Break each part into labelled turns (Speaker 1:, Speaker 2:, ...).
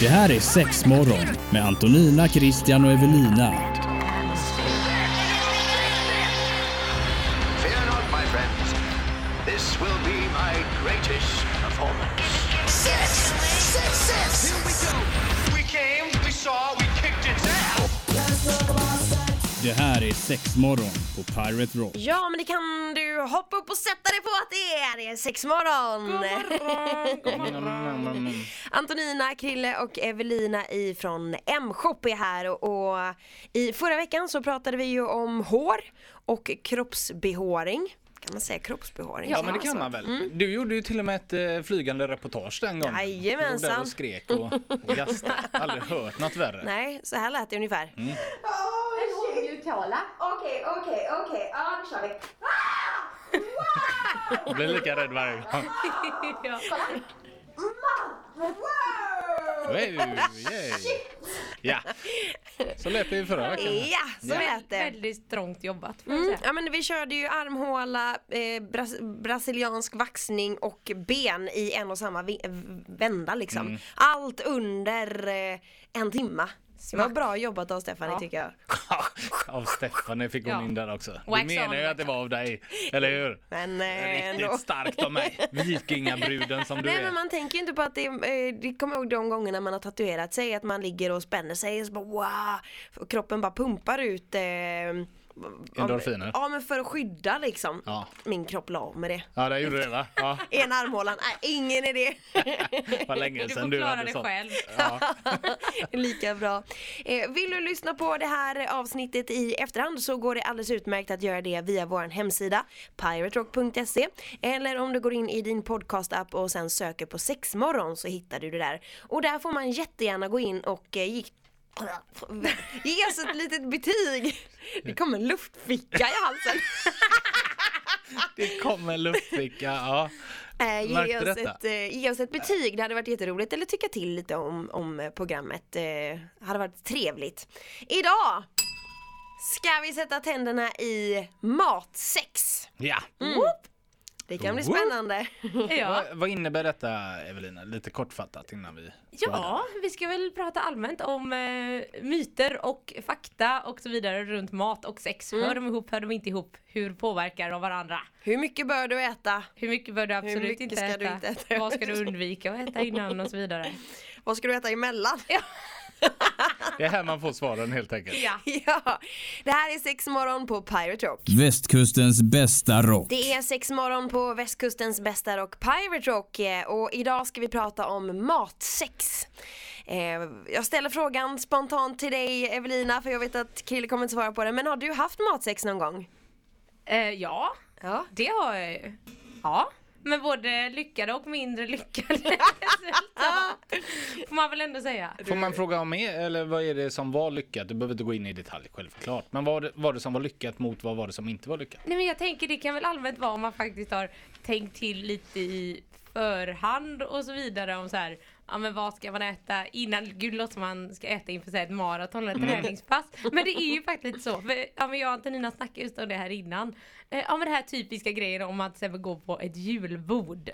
Speaker 1: Det här är Sexmorgon med Antonina, Christian och Evelina.
Speaker 2: Fear not, my friends. This will be my greatest performance.
Speaker 3: Six! Six, six! Here we go!
Speaker 2: We came, we saw, we kicked its ass.
Speaker 1: Det här är Sexmorgon på Pirate Rock.
Speaker 4: Ja, men det kan du hoppa upp och sätta dig på att det är, det är sexmorgon! Antonina, Krille och Evelina ifrån M-shop är här och, och i förra veckan så pratade vi ju om hår och kroppsbehåring. Kan man säga kroppsbehåring?
Speaker 5: Ja, men det kan man väl.
Speaker 4: Mm.
Speaker 5: Du gjorde ju till och med ett eh, flygande reportage den gången.
Speaker 4: Jajamensan.
Speaker 5: Du var där och skrek och gastade. Aldrig hört något värre. Mm.
Speaker 4: Nej, så här lät det ungefär.
Speaker 6: Okej, okej, okej. Ja, nu kör vi.
Speaker 5: Jag blir lika rädd varje gång. Wow, yay. Ja, så lät det ju förra veckan.
Speaker 4: Ja, så lät det.
Speaker 7: Väldigt strångt jobbat får jag
Speaker 4: Mm,
Speaker 7: säga.
Speaker 4: ja, men vi körde ju armhåla, eh, bras brasiliansk vaxning och ben i en och samma vi- eh, vända liksom.
Speaker 5: Mm.
Speaker 4: Allt under eh, en timma. Det var bra jobbat av Stefanie tycker jag.
Speaker 5: Av Stefanie fick hon
Speaker 7: Ja.
Speaker 5: in där också. Du
Speaker 7: Wax
Speaker 5: menar ju
Speaker 7: on.
Speaker 5: att det var av dig, eller hur?
Speaker 4: Men eh, ändå.
Speaker 5: Riktigt starkt av mig. Vikingabruden som du
Speaker 4: Nej men
Speaker 5: är.
Speaker 4: man tänker ju inte på att det, eh, det kommer jag ihåg de gångerna man har tatuerat sig att man ligger och spänner sig och så bara wow, kroppen bara pumpar ut eh,
Speaker 5: Endorfiner.
Speaker 4: Ja men för att skydda liksom.
Speaker 5: Ja.
Speaker 4: Min kropp la av med det.
Speaker 5: Ja, det gjorde det va? Ja,
Speaker 4: En armhålan, nej ingen idé.
Speaker 5: vad länge
Speaker 7: Du får
Speaker 5: sedan du
Speaker 7: klara
Speaker 5: hade
Speaker 7: dig
Speaker 5: sånt.
Speaker 7: själv.
Speaker 4: Lika bra. Eh, vill du lyssna på det här avsnittet i efterhand så går det alldeles utmärkt att göra det via vår hemsida piraterock.se eller om du går in i din podcastapp och sen söker på sexmorgon så hittar du det där. Och där får man jättegärna gå in och eh, ge- ge oss ett litet betyg. Det kom en luftficka i halsen.
Speaker 5: Det kom en luftficka, ja.
Speaker 4: Eh, ge,
Speaker 5: Märkte
Speaker 4: oss
Speaker 5: detta?
Speaker 4: ett, eh, ge oss ett betyg, det hade varit jätteroligt. Eller tycka till lite om, om eh, programmet. Eh, hade varit trevligt. Idag ska vi sätta tänderna i matsex.
Speaker 5: Ja.
Speaker 4: Woop! Det kan bli
Speaker 5: Woop!
Speaker 4: spännande.
Speaker 7: Ja.
Speaker 5: Vad, vad innebär detta Evelina? Lite kortfattat innan vi...
Speaker 7: ja, vi ska väl prata allmänt om eh, myter och fakta och så vidare runt mat och sex.
Speaker 4: Mm.
Speaker 7: Hör de ihop, hör de inte ihop? Hur påverkar de varandra?
Speaker 4: Hur mycket bör du äta?
Speaker 7: Hur mycket bör du absolut
Speaker 4: mycket
Speaker 7: inte,
Speaker 4: ska
Speaker 7: äta?
Speaker 4: du inte äta?
Speaker 7: Vad ska du undvika att äta innan och så vidare?
Speaker 4: Vad ska du äta emellan?
Speaker 7: Ja.
Speaker 5: Det är här man får svaren helt enkelt.
Speaker 7: Ja.
Speaker 4: ja. Det här är Sexmorgon på Pirate Rock.
Speaker 1: Västkustens bästa rock.
Speaker 4: Det är sex morgon på västkustens bästa rock, Pirate Rock. eh, Och idag ska vi prata om matsex. Eh, Jag ställer frågan spontant till dig Evelina, för jag vet att Krille kommer inte svara på den. Men har du haft matsex någon gång?
Speaker 7: Eh, ja,
Speaker 4: Ja.
Speaker 7: det har jag ju. Ja. Med både lyckade och mindre lyckade resultat. Får man väl ändå säga.
Speaker 5: Får man fråga om mer eller vad är det som var lyckat? Du behöver inte gå in i detalj självklart. Men vad var det- var det som var lyckat mot vad var det som inte var lyckat?
Speaker 7: Nej men jag tänker det kan väl allmänt vara om man faktiskt har tänkt till lite i förhand och så vidare om så här, ja men vad ska man äta innan, gud det låter som man ska äta inför så här, ett maraton eller ett träningspass. Men det är ju faktiskt lite så, för ja, men jag och Antonina snackade just om det här innan. Eh, Ja men det här typiska grejen om att till exempel gå på ett julbord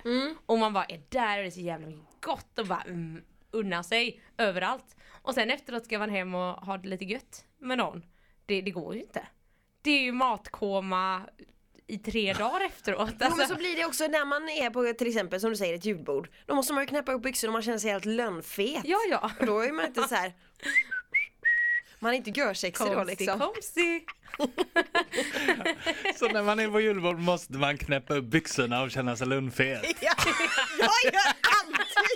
Speaker 7: och man bara är där och det är så jävla gott och bara mm, unna sig överallt. Och sen efteråt ska man hem och ha det lite gött med någon. Det, det går ju inte det är ju matkoma i tre dagar efteråt.
Speaker 4: Jo, men så
Speaker 7: Alltså,
Speaker 4: blir det också när man är på till exempel som du säger ett julbord. Då måste man ju knäppa upp byxorna och man känner sig helt lönnfet.
Speaker 7: ja, ja.
Speaker 4: Och då är man inte så här. Man är inte görsexig då liksom.
Speaker 7: komsi.
Speaker 5: Så när man är på julbord måste man knäppa upp byxorna och känna sig lönnfet.
Speaker 4: Ja, jag gör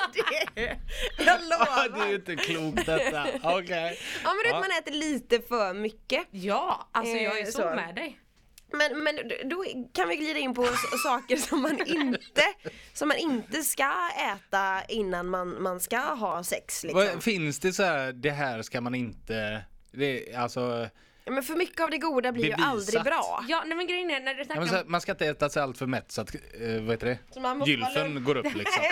Speaker 4: alltid det! Jag
Speaker 5: Ah, det är ju
Speaker 4: lovar!
Speaker 5: inte klokt detta. Okej.
Speaker 4: Ja men du vet man äter lite för mycket.
Speaker 7: Ja, alltså jag är
Speaker 4: Eh,
Speaker 7: så,
Speaker 4: så.
Speaker 7: med dig.
Speaker 4: Men, men då kan vi glida in på s- saker som man inte, som man inte ska äta innan man, man ska ha sex. Liksom.
Speaker 5: Vad- Finns det så här, det här ska man inte... Det, är- alltså,
Speaker 4: Men för mycket av det goda blir ju
Speaker 5: Bevisat.
Speaker 4: aldrig bra.
Speaker 7: Ja, nej men grejen är när du
Speaker 5: Ja,
Speaker 7: snackar
Speaker 5: men
Speaker 7: om
Speaker 5: så här, man ska inte äta sig allt för mätt så att, eh, vad heter
Speaker 4: Så man
Speaker 5: det?
Speaker 4: måste vara
Speaker 5: Gylfen
Speaker 4: lugn.
Speaker 5: går upp liksom.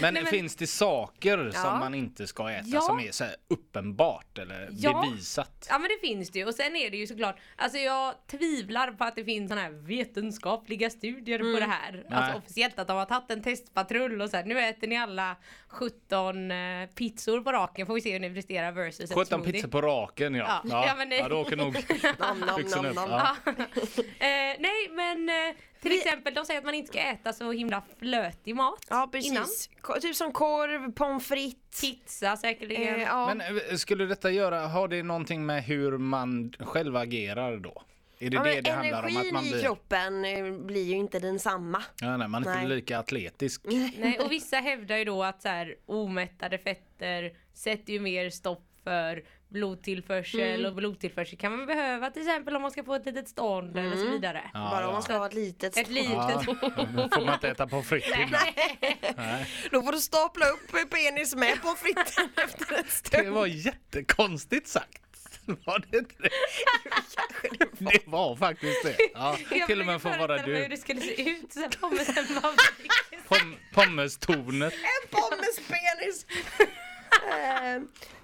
Speaker 5: Men,
Speaker 7: men-
Speaker 5: finns det saker
Speaker 4: Ja.
Speaker 5: som man inte ska äta
Speaker 7: Ja.
Speaker 5: som är så här uppenbart eller
Speaker 7: Ja.
Speaker 5: bevisat?
Speaker 7: Ja men det finns det ju och sen är det ju såklart, alltså jag tvivlar på att det finns sådana här vetenskapliga studier
Speaker 4: Mm.
Speaker 7: på det här. Alltså officiellt att de har tagit en testpatrull och så här, nu äter ni alla 17 eh, pizzor på raken får vi se hur ni presterar versus en
Speaker 5: 17
Speaker 7: smoothie.
Speaker 5: pizzor på raken ja.
Speaker 7: Ja. Ja, men det-
Speaker 5: ja då åker nog
Speaker 4: Nom, nom,
Speaker 5: byxorna
Speaker 4: nom,
Speaker 5: upp.
Speaker 4: nom.
Speaker 5: Ja.
Speaker 7: eh, nej men eh, till
Speaker 4: Vi-
Speaker 7: exempel de säger att man inte ska äta så himla flötig mat
Speaker 4: Ja precis. Ko- Typ som korv, pommes frites.
Speaker 7: Pizza säkerligen.
Speaker 4: Eh, ja.
Speaker 5: Men eh, skulle detta göra, har det någonting med hur man själv agerar då? Är det
Speaker 4: ja,
Speaker 5: det
Speaker 4: men
Speaker 5: det handlar om? Att
Speaker 4: energin
Speaker 5: man
Speaker 4: i
Speaker 5: blir,
Speaker 4: kroppen eh, blir ju inte densamma.
Speaker 5: ja, nej, man är
Speaker 4: Nej.
Speaker 5: inte lika atletisk.
Speaker 7: Nej, och vissa hävdar ju då att så här, omättade fetter sätter ju mer stopp för blodtillförsel
Speaker 4: Mm.
Speaker 7: och blodtillförsel kan man behöva till exempel om man ska få ett litet stånd eller
Speaker 4: Mm.
Speaker 7: så vidare.
Speaker 5: Ja,
Speaker 4: Bara om
Speaker 5: ja.
Speaker 4: man ska ha ett litet
Speaker 7: Ett litet
Speaker 5: Ja.
Speaker 7: stånd.
Speaker 5: Då får man inte äta på fritt innan.
Speaker 4: Då får du stapla upp penis med pommes fritesen efter en
Speaker 5: Det
Speaker 4: stund.
Speaker 5: var jättekonstigt sagt. Var det inte det? Det var faktiskt det. Ja,
Speaker 7: Jag
Speaker 5: till och med
Speaker 7: försöker
Speaker 5: får vara
Speaker 7: föreställa mig hur
Speaker 5: du.
Speaker 7: det skulle se ut så här pommesen var
Speaker 5: Pom- Pommestornet.
Speaker 4: En pommespenis! Eh,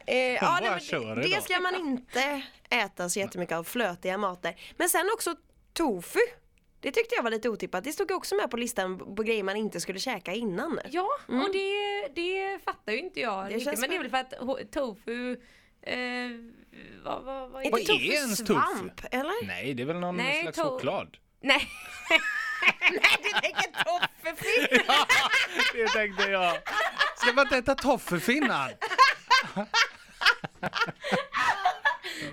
Speaker 4: eh, ja,
Speaker 5: bara
Speaker 4: nej, men
Speaker 5: kör
Speaker 4: det, det
Speaker 5: idag.
Speaker 4: ska man inte äta så jättemycket av flötiga mater. Men sen också tofu. Det tyckte jag var lite otippat. Det stod ju också med på listan på grejer man inte skulle käka innan.
Speaker 7: Ja, och det, det fattar ju inte jag
Speaker 4: Mm. Det
Speaker 7: riktigt.
Speaker 4: känns
Speaker 7: Men det är
Speaker 4: väl-
Speaker 7: väl för att ho- tofu... Eh, vad, vad, vad är
Speaker 4: Inte
Speaker 5: Vad
Speaker 7: det?
Speaker 5: är
Speaker 4: tofu
Speaker 5: ens tofu?
Speaker 4: svamp, eller?
Speaker 5: Nej, det är väl någon
Speaker 7: Nej,
Speaker 5: slags
Speaker 7: to-
Speaker 5: choklad.
Speaker 7: Nej,
Speaker 4: Du tänker toffefisk?
Speaker 5: Det tänkte jag. Ska man inte äta toffelfinnar?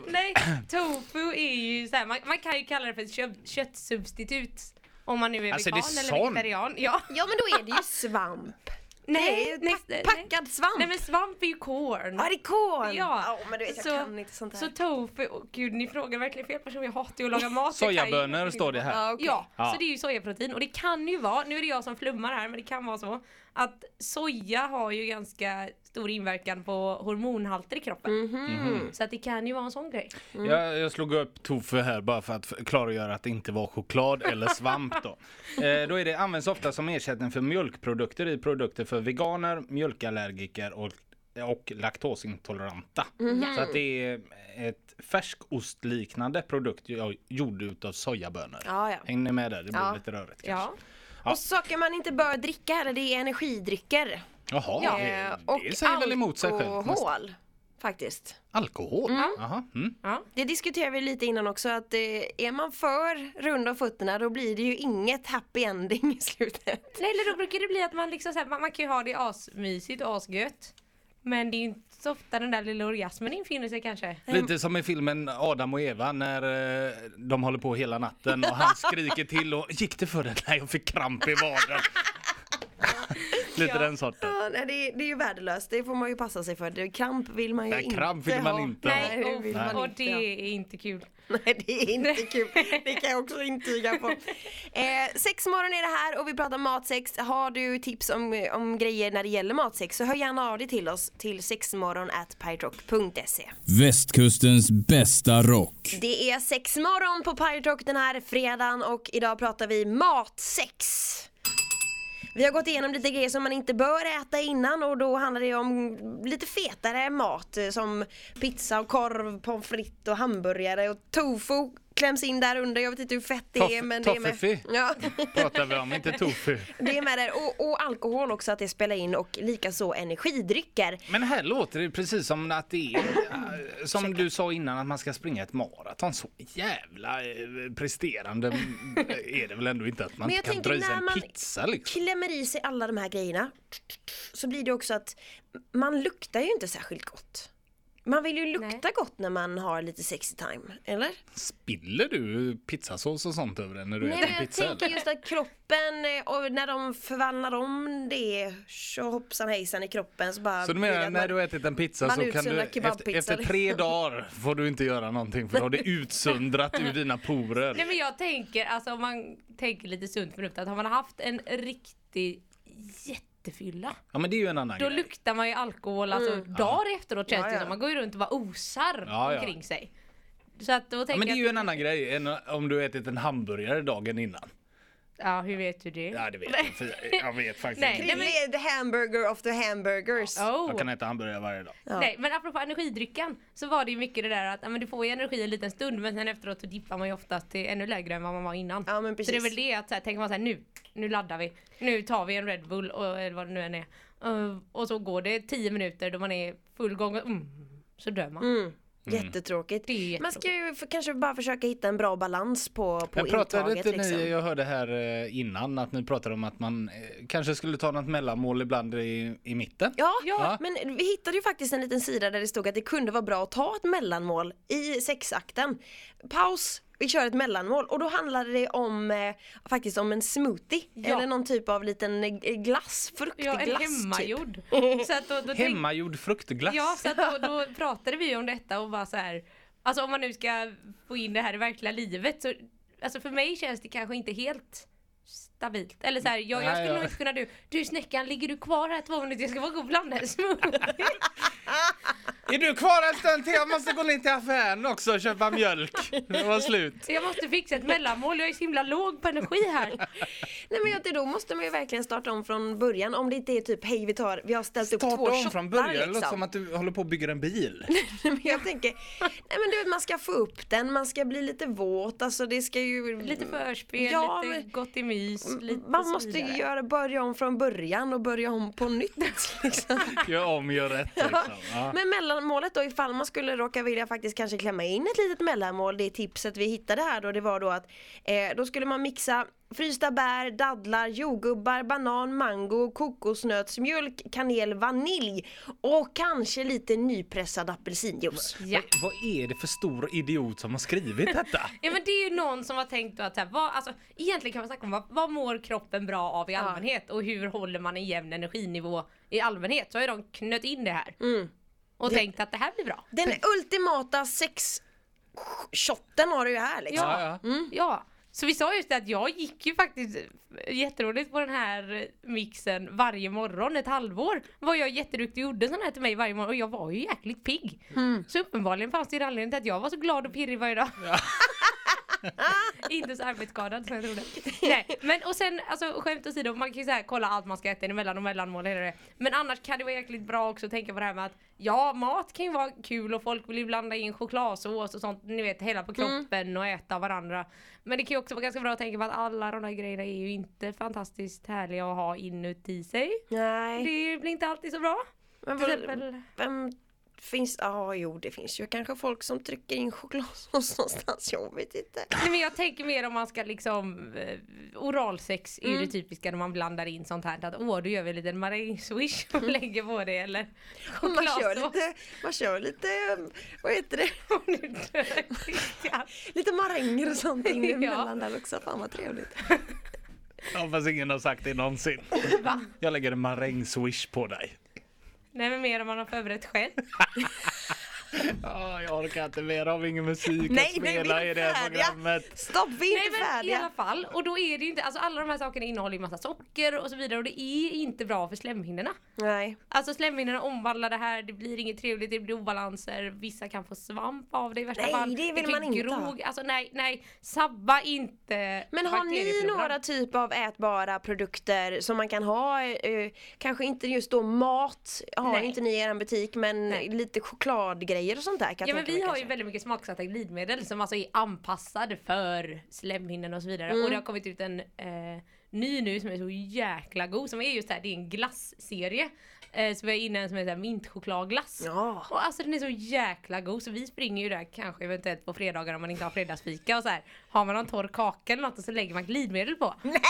Speaker 7: Nej, tofu är ju så här, man, man kan ju kalla det för ett kö- köttsubstitut. Om man nu är
Speaker 5: Alltså, är det
Speaker 7: vegan eller
Speaker 5: sånt?
Speaker 7: vegetarian. Ja.
Speaker 4: Ja men då är det ju svamp. det är
Speaker 7: nej,
Speaker 4: pack-
Speaker 7: nej.
Speaker 4: packad svamp.
Speaker 7: Nej men svamp är ju korn.
Speaker 4: Ja det är korn!
Speaker 7: Ja.
Speaker 4: men du vet jag
Speaker 7: Så-
Speaker 4: kan inte sånt här.
Speaker 7: Så tofu, oh, gud ni frågar verkligen fel person, jag hatar ju att laga mat. Jag kan ju
Speaker 5: Sojabönor
Speaker 7: verkligen
Speaker 5: står
Speaker 7: inte.
Speaker 5: det här.
Speaker 4: Ja, okej.
Speaker 7: Ja,
Speaker 5: Ja.
Speaker 7: så det är ju sojaprotein och det kan ju vara, nu är det jag som flummar här men det kan vara så att soja har ju ganska stor inverkan på hormonhalter i kroppen.
Speaker 4: Mhm.
Speaker 7: Så att det kan ju vara en sån grej.
Speaker 5: Jag, jag slog upp tofu här bara för att klargöra att det inte var choklad eller svamp då. Eh, då är det används ofta som ersättning för mjölkprodukter i produkter för veganer, mjölkallergiker och och laktosintoleranta.
Speaker 4: Mm.
Speaker 5: Så att det är ett färskostliknande produkt jag gjorde utav sojabönor.
Speaker 4: Ja, ja.
Speaker 5: Hänger ni med där? Det blev
Speaker 4: Ja.
Speaker 5: lite rörigt kanske.
Speaker 7: Ja.
Speaker 4: Och saker man inte bör dricka heller, det är energidrycker.
Speaker 5: Jaha,
Speaker 4: Eh,
Speaker 5: det, det säger väl emot sig själv. nästan.
Speaker 4: alkohol, faktiskt.
Speaker 5: Alkohol? Jaha, mm.
Speaker 4: Det diskuterade vi lite innan också att eh, är man för rund om fötterna då blir det ju inget happy ending i slutet.
Speaker 7: Nej eller då brukar det bli att man liksom så här, man, man kan ju ha det asmysigt och asgött. Men det är ju inte så ofta den där lilla orgasmen infinner sig kanske.
Speaker 5: Lite som i filmen Adam och Eva när eh, de håller på hela natten och han skriker till och gick det för dig? Nej, jag fick kramp i vaden. Lite den sorten.
Speaker 4: Ja, nej, det, är- det är ju värdelöst, det får man ju passa sig för. Det- Kramp vill man ju
Speaker 5: Nej,
Speaker 4: inte
Speaker 5: kramp vill man
Speaker 4: ha.
Speaker 5: inte ha.
Speaker 7: Nej,
Speaker 4: det vill man
Speaker 7: och, och
Speaker 4: inte
Speaker 7: det
Speaker 4: ha.
Speaker 7: är inte kul.
Speaker 4: Nej, det är inte kul. Det kan jag också intyga på. Eh, sexmorgon är det här och vi pratar matsex. Har du tips om, om grejer när det gäller matsex så hör gärna av dig till oss till sexmorgon.pyrock.se.
Speaker 1: Västkustens bästa rock.
Speaker 4: Det är sexmorgon på Pirate Rock den här fredagen och idag pratar vi matsex. Vi har gått igenom lite grejer som man inte bör äta innan och då handlar det om lite fetare mat eh, som pizza och korv, pommes frites och hamburgare och tofu kläms in där under. Jag vet inte hur fett det är
Speaker 5: Toff-
Speaker 4: men det är med.
Speaker 5: toffefi.
Speaker 4: Ja,
Speaker 5: Pratar vi om, inte tofu.
Speaker 4: det är med där. Och, och alkohol också att det spelar in och likaså energidrycker.
Speaker 5: Men här låter det precis som att det är, eh, som du sa innan, att man ska springa ett maraton. Så jävla eh, presterande mm, är det väl ändå inte att man
Speaker 4: Men
Speaker 5: inte
Speaker 4: jag
Speaker 5: kan
Speaker 4: tänker
Speaker 5: dra i sig
Speaker 4: när
Speaker 5: en
Speaker 4: man
Speaker 5: pizza liksom.
Speaker 4: klämmer i sig alla de här grejerna så blir det också att man luktar ju inte särskilt gott. Man vill ju lukta
Speaker 7: Nej.
Speaker 4: gott när man har lite sexy time, eller?
Speaker 5: Spiller du pizzasås och sånt över den när du äter
Speaker 4: jag
Speaker 5: pizza?
Speaker 4: tänker
Speaker 5: eller?
Speaker 4: just att kroppen, eh, och när de förvandlar om det så hoppsan hejsan i kroppen så bara...
Speaker 5: Så du
Speaker 4: blir det
Speaker 5: menar
Speaker 4: att
Speaker 5: när
Speaker 4: man-
Speaker 5: du har ätit en pizza
Speaker 4: man
Speaker 5: så kan du
Speaker 4: utsöndrar
Speaker 5: efter,
Speaker 4: kebabpizza,
Speaker 5: efter
Speaker 4: liksom.
Speaker 5: tre dagar får du inte göra någonting för då har det utsöndrat ur dina
Speaker 7: Nej
Speaker 5: porer.
Speaker 7: men jag tänker, alltså om man tänker lite sunt förnuft, att har man haft en riktig jättefylla,
Speaker 5: Ja men det är ju en annan
Speaker 7: då
Speaker 5: grej.
Speaker 7: luktar
Speaker 5: Mm.
Speaker 7: man ju alkohol alltså dagar efteråt känns
Speaker 4: Ja,
Speaker 7: det
Speaker 4: ja.
Speaker 7: som. Man går ju runt och bara osar
Speaker 5: Ja, ja.
Speaker 7: omkring sig. Så att då
Speaker 5: Ja,
Speaker 7: tänker
Speaker 5: men det är ju
Speaker 7: jag
Speaker 5: en
Speaker 7: att-
Speaker 5: annan grej än om du har ätit en hamburgare dagen innan.
Speaker 7: Ja, hur vet du det?
Speaker 5: Ja, det vet jag. För jag- jag vet faktiskt
Speaker 7: Nej.
Speaker 5: inte.
Speaker 7: Nej, men-
Speaker 4: The hamburger of the hamburgers.
Speaker 7: Oh.
Speaker 5: Jag kan äta hamburgare varje dag.
Speaker 7: Nej, men apropå energidrycken så var det ju mycket det där att ja, men du får ju energi en liten stund men sen efteråt så dippar man ju oftast till ännu lägre än vad man var innan.
Speaker 4: Ja, men
Speaker 7: Så det är
Speaker 4: precis.
Speaker 7: väl det att så här, tänker man så här nu, nu laddar vi, nu tar vi en Red Bull och, eller vad det nu än är. Eh, och så går det 10 minuter då man är full gång och mm, så dör man.
Speaker 5: Mm.
Speaker 4: Jättetråkigt.
Speaker 7: Det är ju
Speaker 4: Man ska ju för, kanske bara försöka hitta en bra balans på, på
Speaker 5: Men pratade
Speaker 4: intaget
Speaker 5: inte ni,
Speaker 4: liksom.
Speaker 5: jag hörde här eh, innan att ni pratade om att man eh, kanske skulle ta något mellanmål ibland i, i mitten.
Speaker 4: Ja,
Speaker 5: Ja.
Speaker 4: men vi hittade ju faktiskt en liten sida där det stod att det kunde vara bra att ta ett mellanmål i sexakten. Paus, vi kör ett mellanmål och då handlade det om eh, faktiskt om en smoothie
Speaker 7: Ja.
Speaker 4: eller någon typ av liten eh, glass,
Speaker 7: Ja, en
Speaker 4: fruktglass typ.
Speaker 7: hemmagjord. Så att då, då tänk-
Speaker 5: Hemmagjord fruktglass.
Speaker 7: Ja, så att då, då pratade vi ju om detta och bara så här. Alltså om man nu ska få in det här i verkliga livet så alltså för mig känns det kanske inte helt stabilt. Eller så här, jag, jag
Speaker 5: Nej,
Speaker 7: skulle
Speaker 5: ja.
Speaker 7: nog inte kunna du, du snäckan ligger du kvar här två minuter? Jag ska bara gå och blanda en smoothie.
Speaker 5: Är du kvar en stund till? Jag måste gå ner till affären också och köpa mjölk. Det var slut.
Speaker 7: Så jag måste fixa ett mellanmål, jag är så himla låg på energi här.
Speaker 4: Nej men jag tycker då måste man ju verkligen starta om från början om det inte är typ hej vi tar, vi har ställt upp
Speaker 5: Starta
Speaker 4: två
Speaker 5: om
Speaker 4: shottar
Speaker 5: från början, det
Speaker 4: liksom.
Speaker 5: låter som att du håller på att bygga en bil.
Speaker 4: Nej, men jag tänker, nej men du vet man ska få upp den, man ska bli lite våt, alltså det ska ju
Speaker 7: Lite förspel,
Speaker 4: Ja,
Speaker 7: lite
Speaker 4: men-
Speaker 7: gott i mys, lite
Speaker 4: Man
Speaker 7: så
Speaker 4: måste ju
Speaker 7: vidare.
Speaker 4: göra, börja om från början och börja om på nytt. Liksom.
Speaker 5: Gör om, gör rätt liksom. Ja.
Speaker 4: Men mellanmålet då, ifall man skulle råka vilja faktiskt kanske klämma in ett litet mellanmål, det tipset vi hittade här då, det var då att eh, då skulle man mixa frysta bär, dadlar, jordgubbar, banan, mango, kokosnötsmjölk, kanel, vanilj och kanske lite nypressad apelsinjuice.
Speaker 7: Ja.
Speaker 5: Vad- Vad är det för stor idiot som har skrivit detta?
Speaker 7: Ja men det är ju någon som har tänkt då att så här, vad, alltså, egentligen kan man snacka om vad, vad mår kroppen bra av i allmänhet och hur håller man en jämn energinivå i allmänhet. Så har ju de knött in det här.
Speaker 5: Mm.
Speaker 7: Och tänkt att det här blir bra.
Speaker 4: Mm. Den ultimata sex shotten har du ju här liksom.
Speaker 7: Ja. Ja. Så vi sa just det att jag gick ju faktiskt eh, jätteroligt på den här mixen varje morgon ett halvår. Var jag jätteduktig och gjorde sån här till mig varje morgon och jag var ju jäkligt pigg.
Speaker 4: Mm.
Speaker 7: Så uppenbarligen fanns det ju en anledning till att jag var så glad och pirrig varje dag. Inte så arbetsskadad som jag trodde. Nej, men och sen alltså skämt åsido, man kan ju så här kolla allt man ska äta emellan och mellanmål och hela det. Men annars kan det vara jäkligt bra också att tänka på det här med att ja, mat kan ju vara kul och folk vill ju blanda in chokladsås och sånt, ni vet hela på kroppen och äta varandra. Men det kan ju också vara ganska bra att tänka på att alla de där grejerna är ju inte fantastiskt härliga att ha inuti sig.
Speaker 4: Nej.
Speaker 7: Det blir inte alltid så bra.
Speaker 4: Men
Speaker 7: Till
Speaker 4: vad-
Speaker 7: exempel-
Speaker 4: Vem finns, ja ah, jo det finns ju kanske folk som trycker in chokladsås någonstans, jag vet inte.
Speaker 7: Nej men jag tänker mer om man ska liksom eh, oralsex är ju det typiska när man blandar in sånt här att åh då gör vi en liten marängswish och lägger på det eller
Speaker 4: Man kör
Speaker 7: chokladsås.
Speaker 4: lite, man kör lite, um, vad heter det,
Speaker 7: Och nu dör jag.
Speaker 4: lite maränger och sånt in
Speaker 7: Ja.
Speaker 4: emellan där också, fan vad trevligt.
Speaker 5: Jag hoppas ingen har sagt det någonsin. Jag lägger en marängswish på dig.
Speaker 7: Nej men mer om man har förberett själv.
Speaker 5: Ja, jag orkar inte mer av ingen musik
Speaker 4: Nej,
Speaker 5: att
Speaker 4: nej, vi är
Speaker 5: spela
Speaker 4: inte
Speaker 5: i det här
Speaker 4: färdiga.
Speaker 5: programmet.
Speaker 4: Stopp, vi är
Speaker 7: Nej
Speaker 4: inte
Speaker 7: men i alla
Speaker 4: färdiga.
Speaker 7: fall och då är det ju inte, alltså alla de här sakerna innehåller ju massa socker och så vidare och det är inte bra för slemhinnorna.
Speaker 4: Nej,
Speaker 7: Alltså slemhinnorna omvandlar det här, det blir inget trevligt, det blir obalanser, vissa kan få svamp av det i värsta
Speaker 4: Nej,
Speaker 7: fall.
Speaker 4: det vill
Speaker 7: kan
Speaker 4: man inte ha.
Speaker 7: grog. Alltså nej, nej, sabba inte
Speaker 4: men har ni
Speaker 7: bakteriefloran.
Speaker 4: några typ av ätbara produkter som man kan ha, eh, kanske inte just då mat, har
Speaker 7: Nej.
Speaker 4: inte ni i er butik, men
Speaker 7: Nej.
Speaker 4: lite chokladgrejer och sånt där kan jag
Speaker 7: Ja men
Speaker 4: tänka
Speaker 7: vi
Speaker 4: mig
Speaker 7: har ju
Speaker 4: kanske.
Speaker 7: väldigt mycket smaksatta glidmedel som alltså är anpassade för slemhinnan och så vidare. Och
Speaker 4: Mm.
Speaker 7: det har kommit ut en eh, ny nu som är så jäkla god som är just här, det är en glasserie. Eh, så vi har inne en som heter mintchokladglass.
Speaker 4: Ja.
Speaker 7: Och alltså den är så jäkla god så vi springer ju där kanske eventuellt på fredagar om man inte har fredagsfika och så här. Har man någon torr kaka eller något och så lägger man glidmedel på. Nej.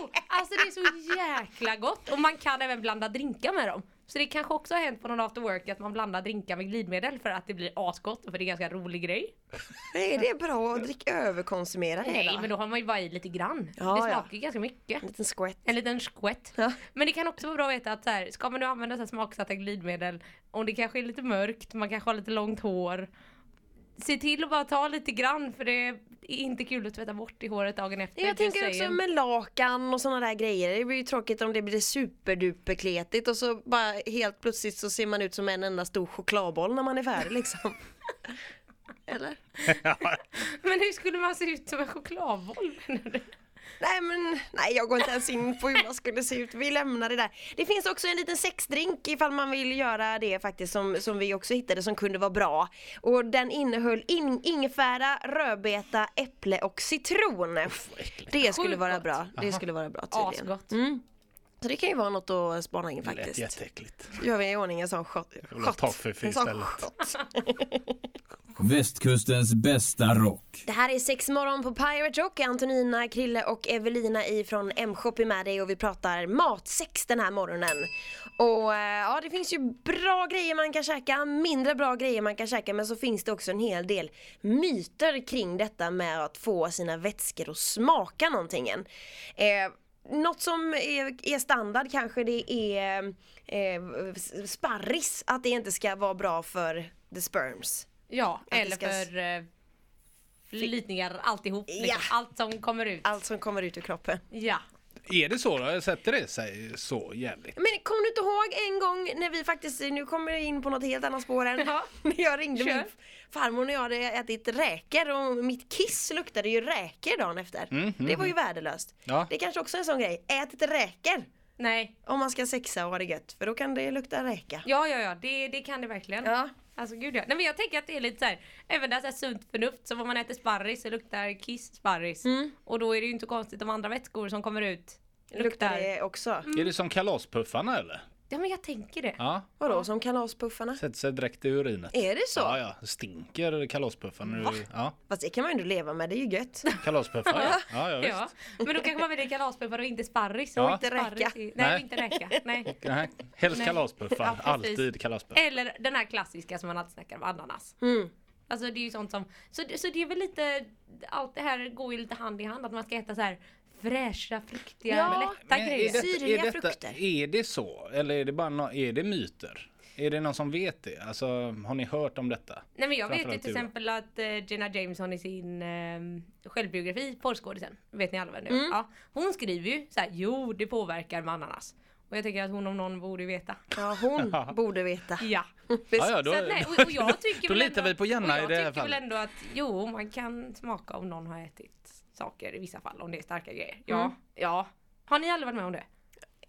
Speaker 7: Jo! Alltså det är så jäkla gott och man kan även blanda drinkar med dem. Så det kanske också har hänt på någon after work att man blandar drinkar med glidmedel för att det blir asgott och för det är en ganska rolig grej.
Speaker 4: Nej, det är bra att dricka, överkonsumera det
Speaker 7: Nej
Speaker 4: hela.
Speaker 7: men då har man ju bara i lite grann.
Speaker 4: Ja,
Speaker 7: det
Speaker 4: ja.
Speaker 7: smakar ju ganska mycket.
Speaker 4: En liten skvätt.
Speaker 7: En liten skvätt.
Speaker 4: Ja.
Speaker 7: Men det kan också vara bra att veta att så här, ska man nu använda så här smaksatta glidmedel om det kanske är lite mörkt, man kanske har lite långt hår. Se till att bara ta lite grann för det är inte kul att tvätta bort i håret dagen efter.
Speaker 4: Jag
Speaker 7: Det
Speaker 4: tänker
Speaker 7: säger-
Speaker 4: också med lakan och sådana där grejer. Det blir ju tråkigt om det blir superduperkletigt och så bara helt plötsligt så ser man ut som en enda stor chokladboll när man är färdig liksom. Eller?
Speaker 7: Men hur skulle man se ut som en chokladboll menar du?
Speaker 4: Nej men, nej jag går inte ens in på hur man skulle se ut. Vi lämnar det där. Det finns också en liten sexdrink ifall man vill göra det faktiskt som, som vi också hittade som kunde vara bra. Och den innehöll in, ingefära, rödbeta, äpple och citron. Det skulle
Speaker 7: Sjukt
Speaker 4: vara
Speaker 7: gott.
Speaker 4: bra. Det skulle vara bra tydligen.
Speaker 7: Asgott.
Speaker 4: Mm. Så det kan ju vara något att spana in
Speaker 5: Det lät
Speaker 4: faktiskt.
Speaker 5: jätteäckligt.
Speaker 4: Gör vi i ordning en sån shot.
Speaker 5: vill ha
Speaker 4: shot.
Speaker 5: toffifee
Speaker 4: En sån
Speaker 5: istället.
Speaker 4: shot.
Speaker 1: Västkustens bästa rock.
Speaker 4: Det här är sex morgon på Pirate Rock. Antonina, Krille och Evelina ifrån M-shop är med dig och vi pratar matsex den här morgonen. Och eh, ja, det finns ju bra grejer man kan käka, mindre bra grejer man kan käka men så finns det också en hel del myter kring detta med att få sina vätskor att smaka någonting än. Eh, något som är, är standard kanske det är eh, sparris, att det inte ska vara bra för the sperms.
Speaker 7: Ja,
Speaker 4: det
Speaker 7: eller
Speaker 4: ska-
Speaker 7: för eh, flytningar alltihop. Liksom.
Speaker 4: Ja.
Speaker 7: Allt som kommer ut.
Speaker 4: Allt som kommer ut ur kroppen.
Speaker 7: Ja.
Speaker 5: Är det så då? Sätter det sig så jävligt?
Speaker 4: Men kommer du inte ihåg en gång när vi faktiskt, nu kommer jag in på något helt annat spår än
Speaker 7: Ja.
Speaker 4: när jag ringde
Speaker 7: Kör.
Speaker 4: min farmor när jag hade ätit räkor och mitt kiss luktade ju räkor dagen efter. Det var ju värdelöst.
Speaker 5: Mm, Ja.
Speaker 4: Det är kanske också är en sån grej, ät inte räkor
Speaker 7: Nej.
Speaker 4: om man ska sexa och ha det gött för då kan det lukta räka.
Speaker 7: Ja, ja, ja. Det, det kan det verkligen.
Speaker 4: Ja.
Speaker 7: Alltså gud ja. Nej, men jag tänker att det är lite så här, även där så här sunt förnuft. Som om man äter sparris så luktar kiss sparris.
Speaker 4: Mm.
Speaker 7: Och då är det ju inte konstigt om andra vätskor som kommer ut luktar.
Speaker 4: Luktar det också.
Speaker 5: Är det som kalaspuffarna eller?
Speaker 7: Ja, men jag tänker det.
Speaker 5: Ja,
Speaker 4: Vadå som kalaspuffarna?
Speaker 5: sätter sig direkt i urinet.
Speaker 4: Är det så?
Speaker 5: Ja, ja. Stinker kalaspuffarna. ur- Ja,
Speaker 4: Fast det kan man ju ändå leva med, det är ju gött.
Speaker 5: kalaspuffar ja. Ja, ja, visst.
Speaker 7: Ja, men då kanske man väljer kalaspuffar och inte sparris.
Speaker 5: Ja.
Speaker 7: Och
Speaker 5: inte
Speaker 4: räka.
Speaker 7: Sparris i- Nej,
Speaker 5: Nej.
Speaker 7: och inte räka. Nej.
Speaker 5: Nej, helst
Speaker 7: Nej.
Speaker 5: kalaspuffar.
Speaker 7: Ja, precis.
Speaker 5: Alltid kalaspuffar.
Speaker 7: Eller den här klassiska som man alltid snackar om, ananas.
Speaker 4: Mm.
Speaker 7: Alltså det är ju sånt som, så, det- så det är väl lite, allt det här går ju lite hand i hand att man ska äta så här fräscha, fruktiga,
Speaker 4: Ja,
Speaker 7: lätta grejer.
Speaker 4: det- Syrliga frukter.
Speaker 5: är det så? Eller är det bara no, är det myter? Är det någon som vet det? Alltså, har ni hört om detta?
Speaker 7: Nej men jag vet ju
Speaker 5: Framförallt
Speaker 7: till
Speaker 5: du då.
Speaker 7: exempel att eh, Jenna Jameson i sin eh, självbiografi, porrskådisen, vet ni alla vem det är? ja, Hon skriver ju så här, jo det påverkar med ananas. Och jag tänker att hon om någon borde ju veta.
Speaker 4: Ja hon borde veta.
Speaker 7: Ja.
Speaker 5: Ja, ja, då,
Speaker 7: Så att, nej, och, och jag tycker
Speaker 5: då
Speaker 7: väl
Speaker 5: litar
Speaker 7: ändå,
Speaker 5: vi på Jenna
Speaker 7: och
Speaker 5: i
Speaker 7: jag
Speaker 5: det här
Speaker 7: tycker väl
Speaker 5: fallet.
Speaker 7: ändå att jo, man kan smaka om någon har ätit saker i vissa fall, om det är starka grejer. Ja, ja. Har ni aldrig varit med om det?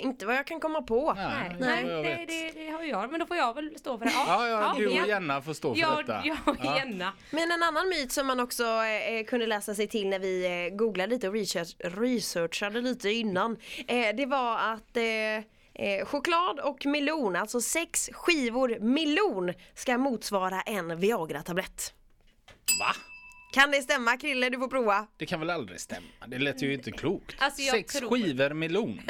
Speaker 4: Inte vad jag kan komma på.
Speaker 5: Nej, inte
Speaker 7: nej,
Speaker 5: vad jag
Speaker 7: nej
Speaker 5: vet.
Speaker 7: det, det har ju jag. Men då får jag väl stå för det.
Speaker 5: Ja, ja, du
Speaker 7: ja.
Speaker 5: och Jenna får stå för
Speaker 7: Ja,
Speaker 5: detta.
Speaker 7: jag och Jenna.
Speaker 4: Men en annan myt som man också eh, kunde läsa sig till när vi eh, googlade lite och research, researchade lite innan. Eh, det var att eh, eh, choklad och melon, alltså sex skivor melon ska motsvara en Viagra-tablett.
Speaker 5: Va?
Speaker 4: Kan det stämma Krille? Du får prova.
Speaker 5: Det kan väl aldrig stämma? Det lät ju inte klokt.
Speaker 7: Alltså, jag
Speaker 5: Sex
Speaker 7: tror-
Speaker 5: skivor melon.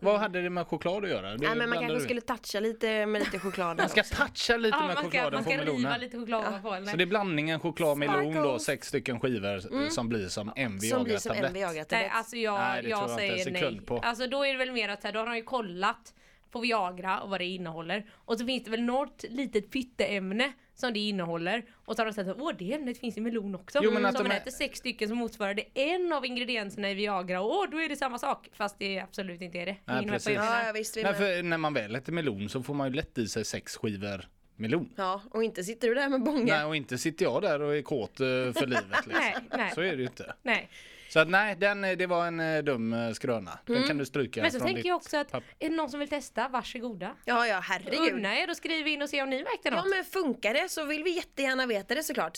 Speaker 5: Vad hade det med choklad att göra? Det
Speaker 4: Nej, men man
Speaker 5: blandar
Speaker 4: kanske
Speaker 5: du.
Speaker 4: skulle toucha lite med lite choklad. där
Speaker 5: Man ska
Speaker 4: också.
Speaker 5: toucha lite
Speaker 7: Ja,
Speaker 5: med
Speaker 7: man ska,
Speaker 5: typ chokladen
Speaker 7: man ska
Speaker 5: på
Speaker 7: riva
Speaker 5: melonen.
Speaker 7: lite choklad ovanpå. eller?
Speaker 5: Så det är blandningen choklad och melon då,
Speaker 4: Sparkles.
Speaker 5: sex stycken skivor eh,
Speaker 7: Mm.
Speaker 5: som blir som en
Speaker 4: Som blir som en
Speaker 5: Viagra-tablett.
Speaker 7: Nej,
Speaker 4: Viagra-tablett.
Speaker 7: alltså jag,
Speaker 5: Nej, det
Speaker 7: jag,
Speaker 5: tror jag inte en
Speaker 7: säger nej.
Speaker 5: sekund på.
Speaker 7: Alltså då är det väl mer att så här, då har de ju kollat på Viagra och vad det innehåller. Och så finns det väl något litet pytteämne som det innehåller. Och så har de sagt att åh det ämnet finns i melon också. Mm,
Speaker 5: Jo, men att
Speaker 7: så om
Speaker 5: de
Speaker 7: man
Speaker 5: är-
Speaker 7: äter sex stycken så motsvarar det en av ingredienserna i Viagra och åh då är det samma sak. Fast det absolut inte är det.
Speaker 5: Nej,
Speaker 7: Hänger ni med på vad jag
Speaker 5: precis.
Speaker 7: menar?
Speaker 4: Ja, ja, visst, vi
Speaker 5: Nej,
Speaker 4: med.
Speaker 5: för när man väl äter melon så får man ju lätt i sig sex skivor melon.
Speaker 4: Ja, och inte sitter du där med bången.
Speaker 5: Nej, och inte sitter jag där och är kåt eh, för livet. Liksom.
Speaker 7: Nej, nej.
Speaker 5: Så är det ju inte.
Speaker 7: Nej.
Speaker 5: Så att, nej, den, eh, det var en eh, dum eh, skröna. Den
Speaker 4: Mm.
Speaker 5: kan du stryka
Speaker 7: Men så
Speaker 5: från
Speaker 7: tänker
Speaker 5: ditt
Speaker 7: jag också att
Speaker 5: papper.
Speaker 7: är det någon som vill testa, varsågoda.
Speaker 4: Ja, ja, herregud.
Speaker 7: Unna er och skriv in och se om ni märkte något.
Speaker 4: Ja men funkar det så vill vi jättegärna veta det såklart.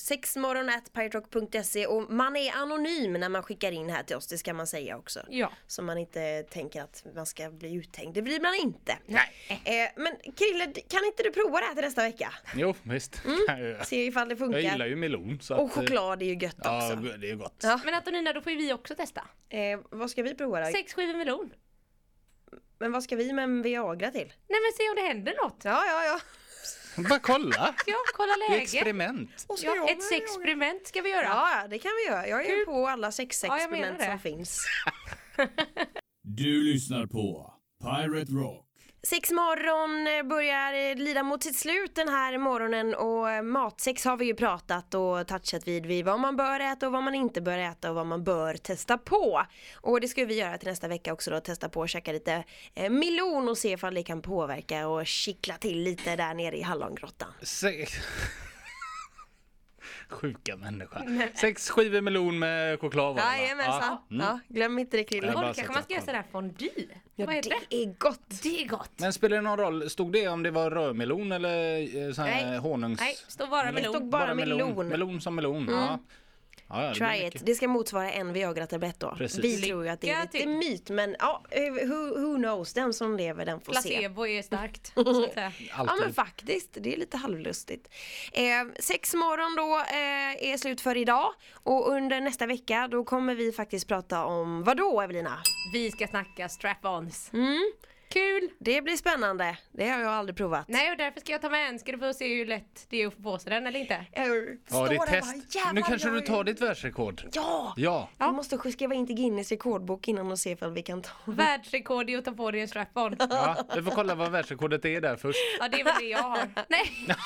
Speaker 4: Sexmorgon.piratrock.se och man är anonym när man skickar in här till oss, det ska man säga också.
Speaker 7: Ja.
Speaker 4: Så man inte tänker att man ska bli uthängd, det blir man inte.
Speaker 5: Nej.
Speaker 4: Eh, men Krille, d- kan inte du prova det här till nästa vecka?
Speaker 5: Jo, visst. kan jag göra.
Speaker 4: Se ifall det
Speaker 5: Jag gillar
Speaker 4: funkar.
Speaker 5: ju melon. Så
Speaker 4: Mm. Och
Speaker 5: att, eh,
Speaker 4: choklad är ju gött
Speaker 5: Ja,
Speaker 4: också.
Speaker 5: det är gott.
Speaker 4: Ja.
Speaker 7: Men Antonina, då får ju vi också testa.
Speaker 4: Eh, vad ska vi prova då?
Speaker 7: Sex skivor melon.
Speaker 4: Men vad ska vi med en Viagra till?
Speaker 7: Nej men se om det händer något.
Speaker 4: Ja, ja, ja.
Speaker 5: Bara kolla.
Speaker 7: Ja, kolla
Speaker 5: Det är
Speaker 7: läget.
Speaker 5: experiment.
Speaker 4: Och ska jag
Speaker 7: Ja,
Speaker 4: med
Speaker 7: ett sexperiment ska vi göra.
Speaker 4: Ja, det kan vi göra. Jag är ju
Speaker 7: Kul.
Speaker 4: på alla
Speaker 7: Ja, jag menar
Speaker 4: sexexperiment
Speaker 7: det.
Speaker 4: som finns.
Speaker 1: Du lyssnar på Pirate Rock.
Speaker 4: Sex morgon eh, börjar eh, lida mot sitt slut den här morgonen och eh, matsex har vi ju pratat och touchat vid, vid vad man bör äta och vad man inte bör äta och vad man bör testa på. Och det ska vi göra till nästa vecka också då, testa på och käka lite eh, melon och se ifall det kan påverka och kittla till lite där nere i hallongrottan.
Speaker 5: Se- Sjuka människa. Sex skivor melon med choklad var det, va?
Speaker 4: Jajamensan. Ja, glöm inte det Krille.
Speaker 5: Jag
Speaker 7: Korv
Speaker 5: bara
Speaker 7: kanske
Speaker 5: sätter
Speaker 7: man ska göra
Speaker 5: på
Speaker 7: sån här fondue?
Speaker 4: Ja,
Speaker 7: Vad heter det?
Speaker 4: det är gott.
Speaker 7: Det är gott.
Speaker 5: Men spelar det någon roll, stod det om det var rödmelon eller eh, sån här
Speaker 4: Nej.
Speaker 5: honungs...
Speaker 7: Nej, står bara
Speaker 4: Det stod
Speaker 7: melon.
Speaker 4: bara melon. Mm.
Speaker 5: melon. Melon som melon, ja. ja. ja, det blir
Speaker 4: Try
Speaker 5: mycket.
Speaker 4: it. Det ska motsvara en Viagra-tablett då.
Speaker 5: Precis.
Speaker 4: Vi tror ju att det är lite
Speaker 7: Lycka till.
Speaker 4: myt men ja, eh, who, who knows. Den som lever den får se.
Speaker 7: Placebo är starkt. så att säga.
Speaker 5: Alltid.
Speaker 4: Ja men faktiskt, det är lite halvlustigt. Eh, sex morgon då eh, är slut för idag och under nästa vecka då kommer vi faktiskt prata om vad då Evelina?
Speaker 7: Vi ska snacka strap-ons.
Speaker 4: Mm.
Speaker 7: Kul!
Speaker 4: Det blir spännande, det har jag aldrig provat.
Speaker 7: Nej och därför ska jag ta med en. Ska du få se hur lätt det är att få på sig den eller inte?
Speaker 4: Eh,
Speaker 5: Ja,
Speaker 4: står
Speaker 5: det
Speaker 4: där
Speaker 5: är
Speaker 4: och
Speaker 5: test.
Speaker 4: bara,
Speaker 5: Nu
Speaker 4: "Jävlar,
Speaker 5: kanske
Speaker 4: jag
Speaker 5: du
Speaker 4: är-"
Speaker 5: tar ditt världsrekord.
Speaker 4: Ja!
Speaker 5: Ja.
Speaker 4: Vi måste skriva in till Guinness rekordbok innan och se ifall vi kan ta
Speaker 7: Världsrekord i att ta på dig en strap-on.
Speaker 5: ja. Vi får kolla vad världsrekordet är där först.
Speaker 7: Ja det är väl det jag har. Nej!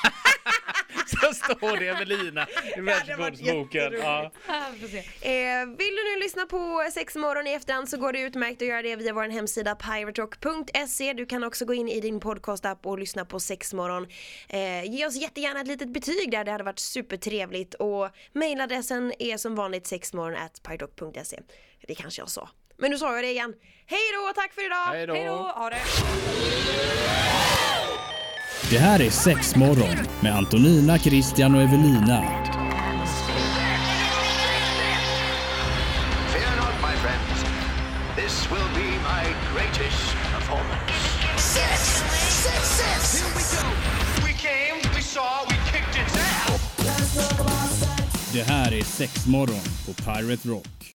Speaker 5: Så står det Evelina i
Speaker 4: hade varit
Speaker 5: världsrekordsboken. Ja.
Speaker 7: Ja, vi får se.
Speaker 4: Eh, vill du nu lyssna på Sex morgon i efterhand så går det utmärkt att göra det via vår hemsida piratrock.se. Du kan också gå in i din podcastapp och lyssna på Sex morgon. Eh, ge oss jättegärna ett litet betyg där, det hade varit supertrevligt. Och mejladressen är som vanligt sexmorgon at piratrock.se. Det kanske jag sa. Men nu sa jag det igen. Hej då, tack för idag!
Speaker 5: Hej
Speaker 7: Hej då!
Speaker 5: då.
Speaker 7: Ha det!
Speaker 1: Det här är sex morgon med Antonina, Christian och Evelina.
Speaker 2: Fear not, my friends. This will be my greatest performance.
Speaker 3: Six, six, six. Here we go.
Speaker 2: We came, we saw, we kicked its ass.
Speaker 1: Det här är sex morgon på Pirate Rock.